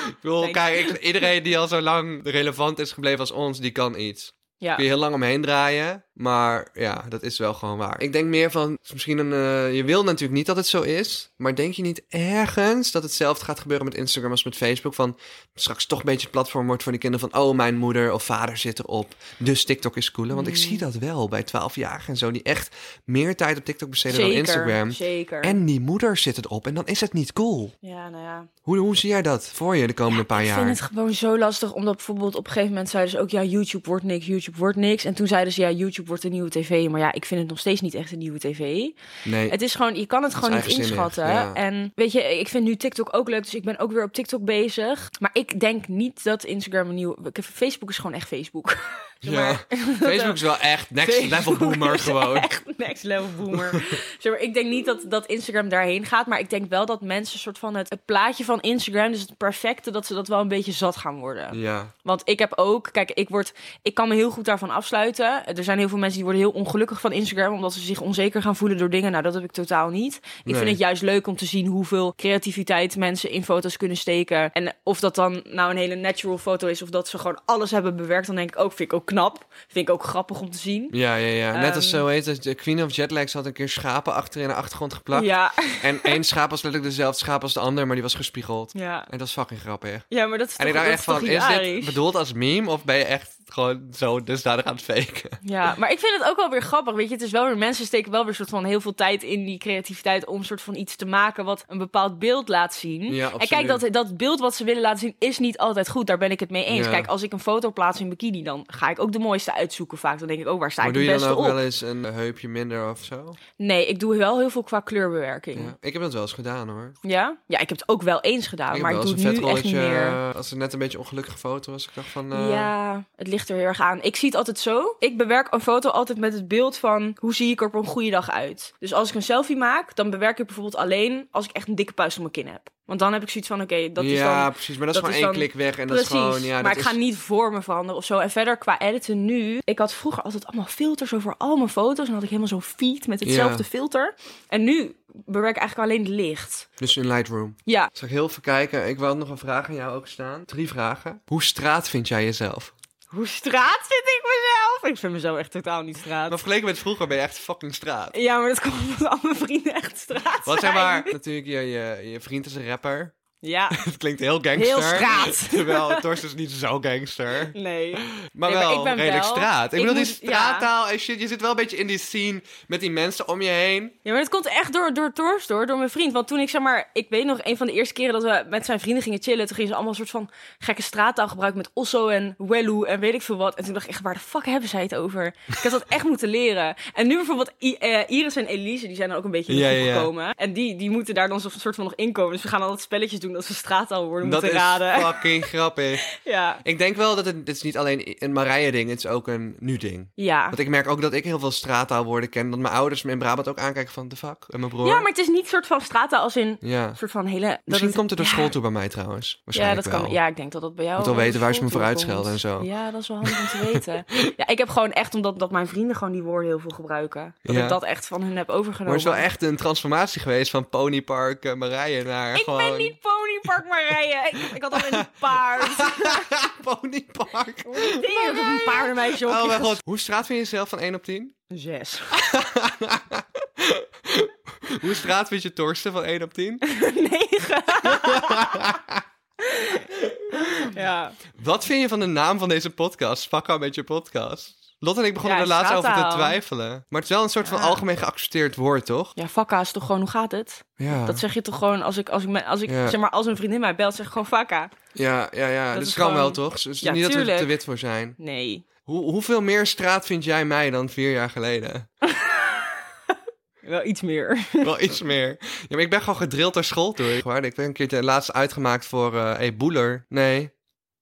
Speaker 2: ik bedoel,
Speaker 1: Thanks.
Speaker 2: kijk, ik- iedereen die al zo lang relevant is gebleven als ons, die kan iets.
Speaker 1: Ja.
Speaker 2: Kun je heel lang omheen draaien, maar ja, dat is wel gewoon waar. Ik denk meer van, het is misschien een, eh, je wil natuurlijk niet dat het zo is, maar denk je niet ergens dat hetzelfde gaat gebeuren met Instagram als met Facebook? Van straks toch een beetje het platform wordt voor die kinderen van, oh, mijn moeder of vader zit erop, dus TikTok is cooler.
Speaker 1: Mm.
Speaker 2: Want ik zie dat wel bij 12-jarigen en zo, die echt meer tijd op TikTok besteden
Speaker 1: Zeker,
Speaker 2: dan Instagram.
Speaker 1: zeker.
Speaker 2: En die moeder zit het op en dan is het niet cool.
Speaker 1: Ja, nou ja.
Speaker 2: Hoe, hoe zie jij dat voor je de komende paar
Speaker 1: Ik
Speaker 2: jaar?
Speaker 1: vind het gewoon zo lastig, omdat bijvoorbeeld op een gegeven moment zeiden ze ook, ja, YouTube wordt niks, YouTube wordt niks. En toen zeiden ze, ja, YouTube wordt een nieuwe tv. Maar ja, ik vind het nog steeds niet echt een nieuwe tv.
Speaker 2: Nee,
Speaker 1: Het is gewoon, je kan het
Speaker 2: is
Speaker 1: gewoon niet
Speaker 2: eigenzinnig,
Speaker 1: inschatten.
Speaker 2: ja.
Speaker 1: En weet je, ik vind nu TikTok ook leuk, dus ik ben ook weer op TikTok bezig. Maar ik denk niet dat Instagram een nieuw... Facebook is gewoon echt Facebook. Zeg maar,
Speaker 2: Facebook is wel echt next level
Speaker 1: Facebook
Speaker 2: boomer
Speaker 1: is
Speaker 2: gewoon.
Speaker 1: Echt next level boomer. zeg maar, ik denk niet dat, dat Instagram daarheen gaat, maar ik denk wel dat mensen soort van het, het plaatje van Instagram, dus het perfecte, dat ze dat wel een beetje zat gaan worden.
Speaker 2: Ja,
Speaker 1: Want ik heb ook, kijk, ik, word, ik kan me heel goed daarvan afsluiten. Er zijn heel veel mensen die worden heel ongelukkig van Instagram, omdat ze zich onzeker gaan voelen door dingen. Nou, dat heb ik totaal niet. Ik
Speaker 2: Nee.
Speaker 1: vind het juist leuk om te zien hoeveel creativiteit mensen in foto's kunnen steken. En of dat dan nou een hele natural foto is, of dat ze gewoon alles hebben bewerkt, dan denk ik ook, vind ik ook knap. Vind ik ook grappig om te zien.
Speaker 2: ja, ja. ja. Net als
Speaker 1: Ehm.
Speaker 2: zo heet het. de Queen of Jetlags had een keer schapen achter in de achtergrond geplakt.
Speaker 1: Ja,
Speaker 2: En één schaap was letterlijk dezelfde schaap als de ander, maar die was gespiegeld.
Speaker 1: ja.
Speaker 2: En dat is fucking grappig.
Speaker 1: Ja, maar dat is
Speaker 2: En
Speaker 1: toch,
Speaker 2: ik
Speaker 1: dat is
Speaker 2: dacht echt
Speaker 1: toch
Speaker 2: van, is dit
Speaker 1: hilarisch?
Speaker 2: bedoeld als meme of ben je echt gewoon zo dusdanig aan het faken?
Speaker 1: Ja, maar ik vind het ook wel weer grappig. Weet je, het is wel weer mensen steken wel weer soort van heel veel tijd in die creativiteit om soort van iets te maken wat een bepaald beeld laat zien.
Speaker 2: Ja,
Speaker 1: en kijk, dat, dat beeld wat ze willen laten zien is niet altijd goed. Daar ben ik het mee eens.
Speaker 2: Ja.
Speaker 1: Kijk, als ik een foto plaats in bikini, dan ga ik ook de mooiste uitzoeken vaak. Dan denk ik ook, waar sta
Speaker 2: Maar
Speaker 1: ik
Speaker 2: doe
Speaker 1: het
Speaker 2: je dan
Speaker 1: beste
Speaker 2: ook
Speaker 1: op?
Speaker 2: wel eens een heupje minder of zo?
Speaker 1: Nee, ik doe wel heel veel qua kleurbewerking.
Speaker 2: Ja.
Speaker 1: Ja?
Speaker 2: Ik heb dat wel eens gedaan hoor.
Speaker 1: Ja, ik heb het ook wel eens gedaan,
Speaker 2: ik
Speaker 1: maar
Speaker 2: heb
Speaker 1: ik
Speaker 2: wel
Speaker 1: doe
Speaker 2: eens
Speaker 1: het
Speaker 2: een
Speaker 1: nu echt niet
Speaker 2: vetrolletje,
Speaker 1: meer.
Speaker 2: eh, als het net een beetje ongelukkige foto was, ik dacht van... eh,
Speaker 1: Ja, het ligt er heel erg aan. Ik zie het altijd zo. Ik bewerk een foto altijd met het beeld van hoe zie ik er op een goede dag uit. Dus als ik een selfie maak, dan bewerk ik bijvoorbeeld alleen als ik echt een dikke puist op mijn kin heb. Want dan heb ik zoiets van, oké, dat is
Speaker 2: ja,
Speaker 1: dan...
Speaker 2: precies. Maar dat,
Speaker 1: dat
Speaker 2: is
Speaker 1: is
Speaker 2: gewoon één
Speaker 1: dan-
Speaker 2: klik weg. En
Speaker 1: Precies,
Speaker 2: dat is gewoon, ja,
Speaker 1: maar
Speaker 2: dat
Speaker 1: ik ga
Speaker 2: is-
Speaker 1: niet voor me veranderen of zo. En verder qua editen nu. Ik had vroeger altijd allemaal filters over al mijn foto's. En dan had ik helemaal zo'n feed met hetzelfde
Speaker 2: Ja.
Speaker 1: filter. En nu bewerk ik eigenlijk alleen het licht.
Speaker 2: Dus in Lightroom.
Speaker 1: Ja,
Speaker 2: Zal ik heel even kijken. Ik wou nog een vraag aan jou ook staan. Drie vragen. Hoe straat vind jij jezelf?
Speaker 1: hoe straat vind ik mezelf? Ik vind mezelf echt totaal niet straat.
Speaker 2: Maar vergeleken met vroeger ben je echt fucking straat.
Speaker 1: Ja, maar dat komt omdat al mijn vrienden echt straat
Speaker 2: Wat zeg
Speaker 1: zijn.
Speaker 2: maar, natuurlijk, je, je, je vriend is een rapper.
Speaker 1: Ja,
Speaker 2: Het klinkt heel gangster.
Speaker 1: heel straat.
Speaker 2: Terwijl Torst is niet zo gangster.
Speaker 1: Nee.
Speaker 2: Maar
Speaker 1: Nee, maar
Speaker 2: wel
Speaker 1: ik ben
Speaker 2: redelijk
Speaker 1: wel-
Speaker 2: straat. Ik,
Speaker 1: ik
Speaker 2: bedoel, die
Speaker 1: moet- ja.
Speaker 2: straattaal en shit. Je zit wel een beetje in die scene met die mensen om je heen.
Speaker 1: Ja, maar dat komt echt door, door Torst, hoor. Door mijn vriend. Want toen ik, zeg maar... Ik weet nog, een van de eerste keren dat we met zijn vrienden gingen chillen... toen gingen ze allemaal een soort van gekke straattaal gebruiken... met Osso en Welu en weet ik veel wat. En toen dacht ik echt, waar de fuck hebben zij het over? Ik had dat echt moeten leren. En nu bijvoorbeeld I- eh, Iris en Elise... die zijn er ook een beetje in de
Speaker 2: Ja,
Speaker 1: groep
Speaker 2: ja, ja.
Speaker 1: gekomen. En die, die moeten daar dan zo'n soort van nog inkomen. Dus we gaan altijd spelletjes doen dat ze straattaal worden
Speaker 2: Dat is
Speaker 1: moeten raden.
Speaker 2: fucking grappig.
Speaker 1: Ja.
Speaker 2: Ik denk wel dat het, dit is niet alleen een Marije-ding Het is ook een nu-ding.
Speaker 1: Ja.
Speaker 2: Want ik merk ook dat ik heel veel straattaalwoorden ken. Dat mijn ouders me in Brabant ook aankijken van de fuck. En mijn broer.
Speaker 1: ja, maar het is niet soort van straattaal als in...
Speaker 2: Ja.
Speaker 1: Een soort van hele... dat
Speaker 2: Misschien komt het door
Speaker 1: ja.
Speaker 2: school toe bij mij trouwens.
Speaker 1: Ja,
Speaker 2: Waarschijnlijk
Speaker 1: dat kan.
Speaker 2: wel.
Speaker 1: Ja, ik denk dat dat bij jou.
Speaker 2: Moet wel weten waar ze me
Speaker 1: voor
Speaker 2: vooruit schelden en zo.
Speaker 1: Ja, dat is wel handig om te weten. Ja, ik heb gewoon echt, omdat dat mijn vrienden gewoon die woorden heel veel gebruiken, dat
Speaker 2: Ja.
Speaker 1: ik dat echt van hun heb overgenomen.
Speaker 2: Maar het is wel echt een transformatie geweest van ponypark eh, Marije naar
Speaker 1: Ik
Speaker 2: gewoon...
Speaker 1: ben niet ponypark Marije. Ik, ik had al een paard.
Speaker 2: ponypark.
Speaker 1: Ik heb een paardenmeisje op.
Speaker 2: Oh mijn god. Hoe straat vind je jezelf van 1 op 10?
Speaker 1: Zes.
Speaker 2: Hoe straat vind je Torsten van 1 op 10?
Speaker 1: Negen. ja.
Speaker 2: Wat vind je van de naam van deze podcast? Fuck aan met je podcast. Lot en ik begonnen
Speaker 1: Ja,
Speaker 2: er laatst over te
Speaker 1: straattaal.
Speaker 2: twijfelen. Maar het is wel een soort van algemeen geaccepteerd woord, toch?
Speaker 1: Ja, vakka is toch gewoon, hoe gaat het?
Speaker 2: Ja.
Speaker 1: Dat zeg je toch gewoon als ik, als ik, me- als ik
Speaker 2: Ja.
Speaker 1: zeg maar, als een vriendin mij belt, zeg ik gewoon vakka.
Speaker 2: Ja, ja, ja. Dat,
Speaker 1: is
Speaker 2: kan wel,
Speaker 1: gewoon-
Speaker 2: toch? Dus Het is
Speaker 1: Ja,
Speaker 2: niet dat we er
Speaker 1: tuurlijk.
Speaker 2: te wit voor zijn.
Speaker 1: Nee.
Speaker 2: Hoe, hoeveel meer straat vind jij mij dan vier jaar geleden?
Speaker 1: Wel iets meer.
Speaker 2: Wel iets meer. Ja, maar ik ben gewoon gedrild door school toe. Echt waar, Ik ben een keertje laatst uitgemaakt voor... eh hey, Boeler. Nee.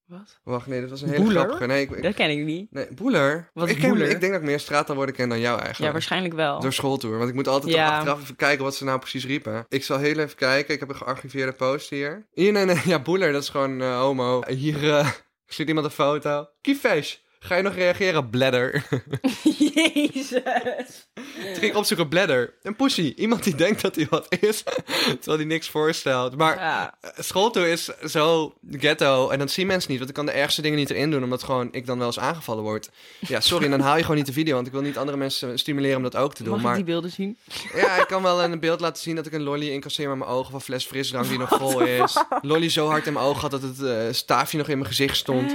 Speaker 1: Wat?
Speaker 2: Wacht, nee, dat was een hele
Speaker 1: Boeler?
Speaker 2: grappige. Nee, ik, ik-
Speaker 1: Dat ken ik niet.
Speaker 2: nee Boeler?
Speaker 1: Wat
Speaker 2: ik,
Speaker 1: is
Speaker 2: ken-
Speaker 1: Boeler?
Speaker 2: ik denk dat ik meer straatalwoorden ken dan jou eigenlijk.
Speaker 1: Ja, waarschijnlijk wel.
Speaker 2: Door schooltour. Want ik moet altijd
Speaker 1: Ja.
Speaker 2: toch achteraf even kijken wat ze nou precies riepen. Ik zal heel even kijken. Ik heb een gearchiveerde post hier. Hier, nee, nee. Ja, Boeler, dat is gewoon eh, homo. Hier eh ziet iemand een foto. Kiefesh. Ga je nog reageren? Bladder.
Speaker 1: Jezus.
Speaker 2: Toen ging ik opzoeken, bladder. Een pussy. Iemand die denkt dat hij wat is, terwijl hij niks voorstelt. Maar
Speaker 1: Ja.
Speaker 2: schooltour is zo ghetto. En dat zien mensen niet. Want ik kan de ergste dingen niet erin doen. Omdat gewoon ik dan wel eens aangevallen word. Ja, sorry. En dan haal je gewoon niet de video. Want ik wil niet andere mensen stimuleren om dat ook te doen.
Speaker 1: Mag ik
Speaker 2: maar
Speaker 1: die beelden zien?
Speaker 2: ja, ik kan wel een beeld laten zien dat ik een lolly incasseer met mijn ogen. Of een fles frisdrank die nog vol is. Lolly zo hard in mijn ogen had dat het eh, staafje nog in mijn gezicht stond.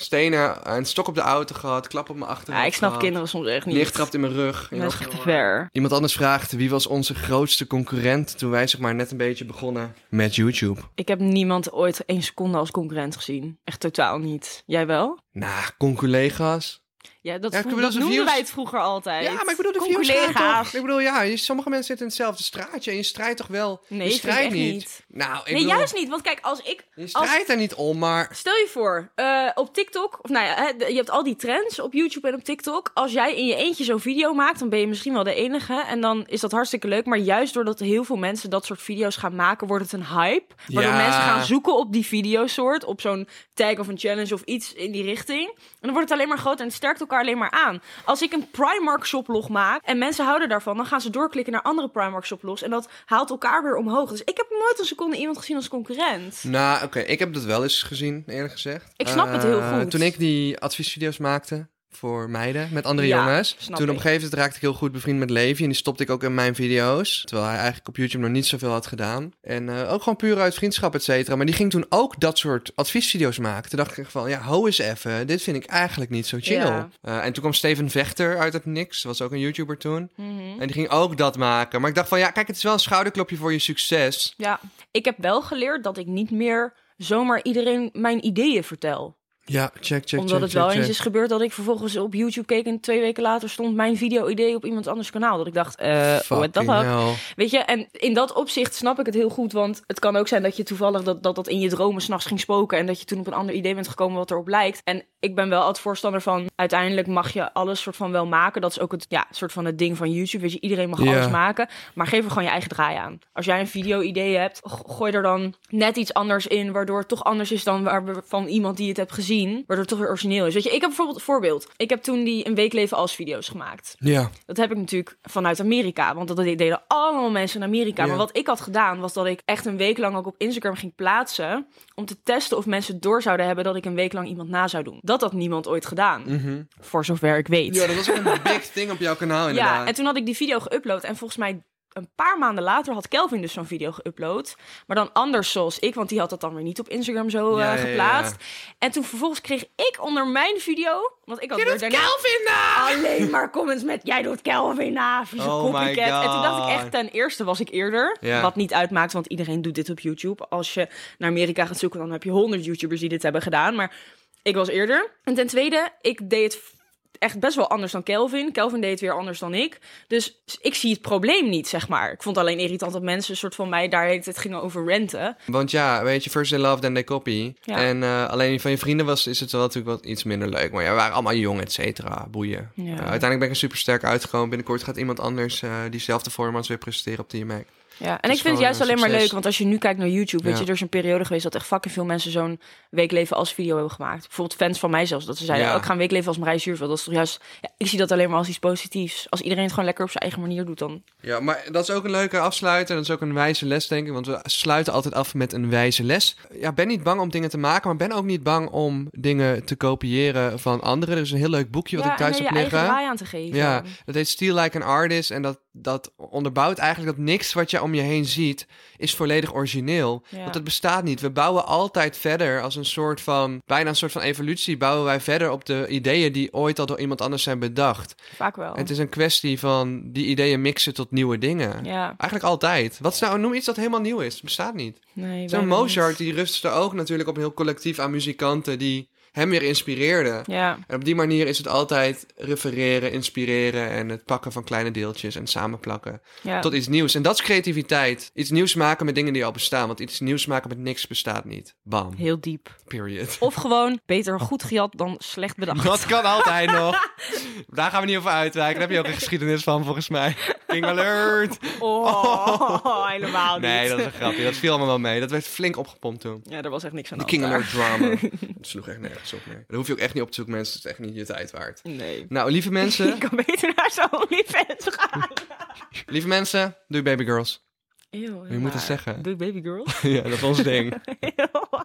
Speaker 2: Stenen, eh, een stok op de auto gehad. Klap op mijn achterhoofd
Speaker 1: Ja, ik snap
Speaker 2: gehad,
Speaker 1: kinderen soms echt niet.
Speaker 2: Lichttrapt in mijn rug.
Speaker 1: Dat is echt te ver.
Speaker 2: Iemand anders vraagt, wie was onze grootste concurrent toen wij zeg maar net een beetje begonnen met YouTube?
Speaker 1: Ik heb niemand ooit één seconde als concurrent gezien. Echt totaal niet. Jij wel?
Speaker 2: Nou, conculega's.
Speaker 1: Ja, dat,
Speaker 2: Ja, ik
Speaker 1: vroeg-
Speaker 2: bedoel,
Speaker 1: dat
Speaker 2: de
Speaker 1: noemden
Speaker 2: views-
Speaker 1: wij het vroeger altijd.
Speaker 2: Ja, maar ik bedoel, de views gaan
Speaker 1: Collega's.
Speaker 2: toch- Ik bedoel, ja, je- sommige mensen zitten in hetzelfde straatje en je strijdt toch wel...
Speaker 1: Nee,
Speaker 2: je
Speaker 1: ik vind
Speaker 2: strijdt
Speaker 1: echt niet.
Speaker 2: Nou, ik
Speaker 1: Nee,
Speaker 2: bedoel,
Speaker 1: juist niet. Want kijk, als ik
Speaker 2: je strijdt er niet om, maar...
Speaker 1: Stel je voor, eh, op TikTok, of nou ja, hè, de- je hebt al die trends op YouTube en op TikTok. Als jij in je eentje zo'n video maakt, dan ben je misschien wel de enige. En dan is dat hartstikke leuk. Maar juist doordat heel veel mensen dat soort video's gaan maken, wordt het een hype. Waardoor
Speaker 2: Ja.
Speaker 1: mensen gaan zoeken op die videosoort, op zo'n tag of een challenge of iets in die richting. En dan wordt het alleen maar groter en het sterkt elkaar alleen maar aan. Als ik een Primark shoplog maak en mensen houden daarvan, dan gaan ze doorklikken naar andere Primark shoplogs. En dat haalt elkaar weer omhoog. Dus ik heb nooit een seconde iemand gezien als concurrent.
Speaker 2: Nou, oké, ik heb dat wel eens gezien, eerlijk gezegd.
Speaker 1: Ik snap het heel
Speaker 2: Eh,
Speaker 1: goed.
Speaker 2: Toen ik die adviesvideo's maakte voor meiden met andere
Speaker 1: Ja,
Speaker 2: jongens. Toen
Speaker 1: snap
Speaker 2: op een
Speaker 1: ik.
Speaker 2: gegeven moment raakte ik heel goed bevriend met Levi. En die stopte ik ook in mijn video's. Terwijl hij eigenlijk op YouTube nog niet zoveel had gedaan. En eh, ook gewoon puur uit vriendschap, et cetera. Maar die ging toen ook dat soort adviesvideo's maken. Toen dacht ik van, ja, ho eens even. Dit vind ik eigenlijk niet zo chill.
Speaker 1: Ja.
Speaker 2: Eh, en toen kwam Steven Vechter uit het niks. Was ook een YouTuber toen.
Speaker 1: Mhm.
Speaker 2: En die ging ook dat maken. Maar ik dacht van, ja, kijk, het is wel een schouderklopje voor je succes.
Speaker 1: Ja, ik heb wel geleerd dat ik niet meer zomaar iedereen mijn ideeën vertel.
Speaker 2: Ja, check, check, check.
Speaker 1: Omdat het
Speaker 2: check,
Speaker 1: wel
Speaker 2: check.
Speaker 1: eens is gebeurd dat ik vervolgens op YouTube keek en twee weken later stond mijn video-idee op iemand anders kanaal. Dat ik dacht, eh what the
Speaker 2: Fucking
Speaker 1: fuck?
Speaker 2: hell.
Speaker 1: Weet je, en in dat opzicht snap ik het heel goed. Want het kan ook zijn dat je toevallig dat dat, dat in je dromen s'nachts ging spoken. En dat je toen op een ander idee bent gekomen wat erop lijkt. En ik ben wel altijd voorstander van. Uiteindelijk mag je alles soort van wel maken. Dat is ook het ja, soort van het ding van YouTube. Weet je, iedereen mag
Speaker 2: Ja.
Speaker 1: alles maken. Maar geef er gewoon je eigen draai aan. Als jij een video-idee hebt, go- gooi er dan net iets anders in. Waardoor het toch anders is dan waar we- van iemand die het hebt gezien. Waardoor het toch weer origineel is. Weet je, ik heb bijvoorbeeld een voorbeeld. Ik heb toen die een week leven als video's gemaakt.
Speaker 2: Ja.
Speaker 1: Dat heb ik natuurlijk vanuit Amerika. Want dat deden allemaal mensen in Amerika.
Speaker 2: Ja.
Speaker 1: Maar wat ik had gedaan, was dat ik echt een week lang ook op Instagram ging plaatsen. Om te testen of mensen door zouden hebben dat ik een week lang iemand na zou doen. Dat had niemand ooit gedaan. Voor zover ik weet.
Speaker 2: Mhm. Ja, dat was echt een big thing op jouw kanaal inderdaad.
Speaker 1: Ja, en toen had ik die video geüpload. En volgens mij een paar maanden later had Kelvin dus zo'n video geüpload. Maar dan anders zoals ik, want die had dat dan weer niet op Instagram zo eh,
Speaker 2: Ja, ja, ja, ja.
Speaker 1: geplaatst. En toen vervolgens kreeg ik onder mijn video... Want ik had weer daarna-
Speaker 2: Kelvin na!
Speaker 1: alleen maar comments met jij doet Kelvin na, vieze
Speaker 2: Oh my
Speaker 1: copycat. En toen dacht ik
Speaker 2: God.
Speaker 1: echt, ten eerste was ik eerder.
Speaker 2: Ja.
Speaker 1: Wat niet uitmaakt, want iedereen doet dit op YouTube. Als je naar Amerika gaat zoeken, dan heb je honderd YouTubers die dit hebben gedaan. Maar ik was eerder. En ten tweede, ik deed het echt best wel anders dan Kelvin. Kelvin deed het weer anders dan ik. Dus ik zie het probleem niet, zeg maar. Ik vond het alleen irritant dat mensen een soort van mij daar het gingen over renten.
Speaker 2: Want ja, weet je, first they love, then they copy.
Speaker 1: Ja.
Speaker 2: En eh, alleen die van je vrienden was, is het wel natuurlijk wat iets minder leuk. Maar ja, we waren allemaal jong, et cetera. Boeien.
Speaker 1: Ja.
Speaker 2: Eh, uiteindelijk ben ik er super sterk uitgekomen. Binnenkort gaat iemand anders eh, diezelfde formats weer presteren op die Mac.
Speaker 1: Ja, en
Speaker 2: is
Speaker 1: ik vind
Speaker 2: gewoon
Speaker 1: het juist
Speaker 2: een
Speaker 1: alleen maar
Speaker 2: succes.
Speaker 1: leuk, want als je nu kijkt naar YouTube, weet
Speaker 2: Ja.
Speaker 1: je, er is een periode geweest dat echt fucking veel mensen zo'n weekleven als video hebben gemaakt. Bijvoorbeeld fans van mij zelfs, dat ze zeiden,
Speaker 2: Ja.
Speaker 1: oh, ik ga een weekleven als Marij Zuurveld. Dat is toch juist, ja, ik zie dat alleen maar als iets positiefs. Als iedereen het gewoon lekker op zijn eigen manier doet, dan...
Speaker 2: Ja, maar dat is ook een leuke afsluiter. Dat is ook een wijze les, denk ik. Want we sluiten altijd af met een wijze les. Ja, ben niet bang om dingen te maken, maar ben ook niet bang om dingen te kopiëren van anderen. Er is een heel leuk boekje wat
Speaker 1: ja,
Speaker 2: ik thuis
Speaker 1: en
Speaker 2: heb
Speaker 1: er je eigen
Speaker 2: liggen.
Speaker 1: draai aan te geven.
Speaker 2: Ja, dat heet Steal Like an Artist. En dat, dat onderbouwt eigenlijk dat niks wat je om je heen ziet is volledig origineel.
Speaker 1: Ja.
Speaker 2: Want dat bestaat niet. We bouwen altijd verder als een soort van, bijna een soort van evolutie, bouwen wij verder op de ideeën die ooit al door iemand anders zijn bedacht.
Speaker 1: vaak wel.
Speaker 2: En het is een kwestie van die ideeën mixen tot nieuwe dingen.
Speaker 1: Ja,
Speaker 2: Eigenlijk altijd. Wat is nou, noem iets dat helemaal nieuw is. Het bestaat niet.
Speaker 1: nee.
Speaker 2: Zo'n
Speaker 1: bijna niet.
Speaker 2: Mozart, die rustte ook natuurlijk op heel collectief aan muzikanten die hem weer inspireerde.
Speaker 1: Ja.
Speaker 2: En op die manier is het altijd refereren, inspireren en het pakken van kleine deeltjes en samenplakken
Speaker 1: ja.
Speaker 2: tot iets nieuws. En dat is creativiteit. Iets nieuws maken met dingen die al bestaan, want iets nieuws maken met niks bestaat niet. Bam.
Speaker 1: Heel diep.
Speaker 2: Period.
Speaker 1: Of gewoon beter goed gejat dan slecht bedacht.
Speaker 2: Dat kan altijd nog. Daar gaan we niet over uitwijken. Daar heb je ook een geschiedenis van, volgens mij. King alert.
Speaker 1: Oh, helemaal niet.
Speaker 2: Nee, dat is een grapje. Dat viel allemaal wel mee. Dat werd flink opgepompt toen.
Speaker 1: Ja, er was echt niks aan
Speaker 2: Die
Speaker 1: de
Speaker 2: King
Speaker 1: hand
Speaker 2: Alert drama. Dat sloeg echt nergens op meer. Daar hoef je ook echt niet op te zoeken, mensen. Het is echt niet je tijd waard.
Speaker 1: daar. Nee.
Speaker 2: Nou, lieve mensen,
Speaker 1: Ik kan beter naar zo'n OnlyFans gaan.
Speaker 2: lieve mensen, doe Baby Girls.
Speaker 1: Eeuw,
Speaker 2: Je moet het zeggen.
Speaker 1: Doe baby girl.
Speaker 2: ja, dat is ons ding.
Speaker 1: Heel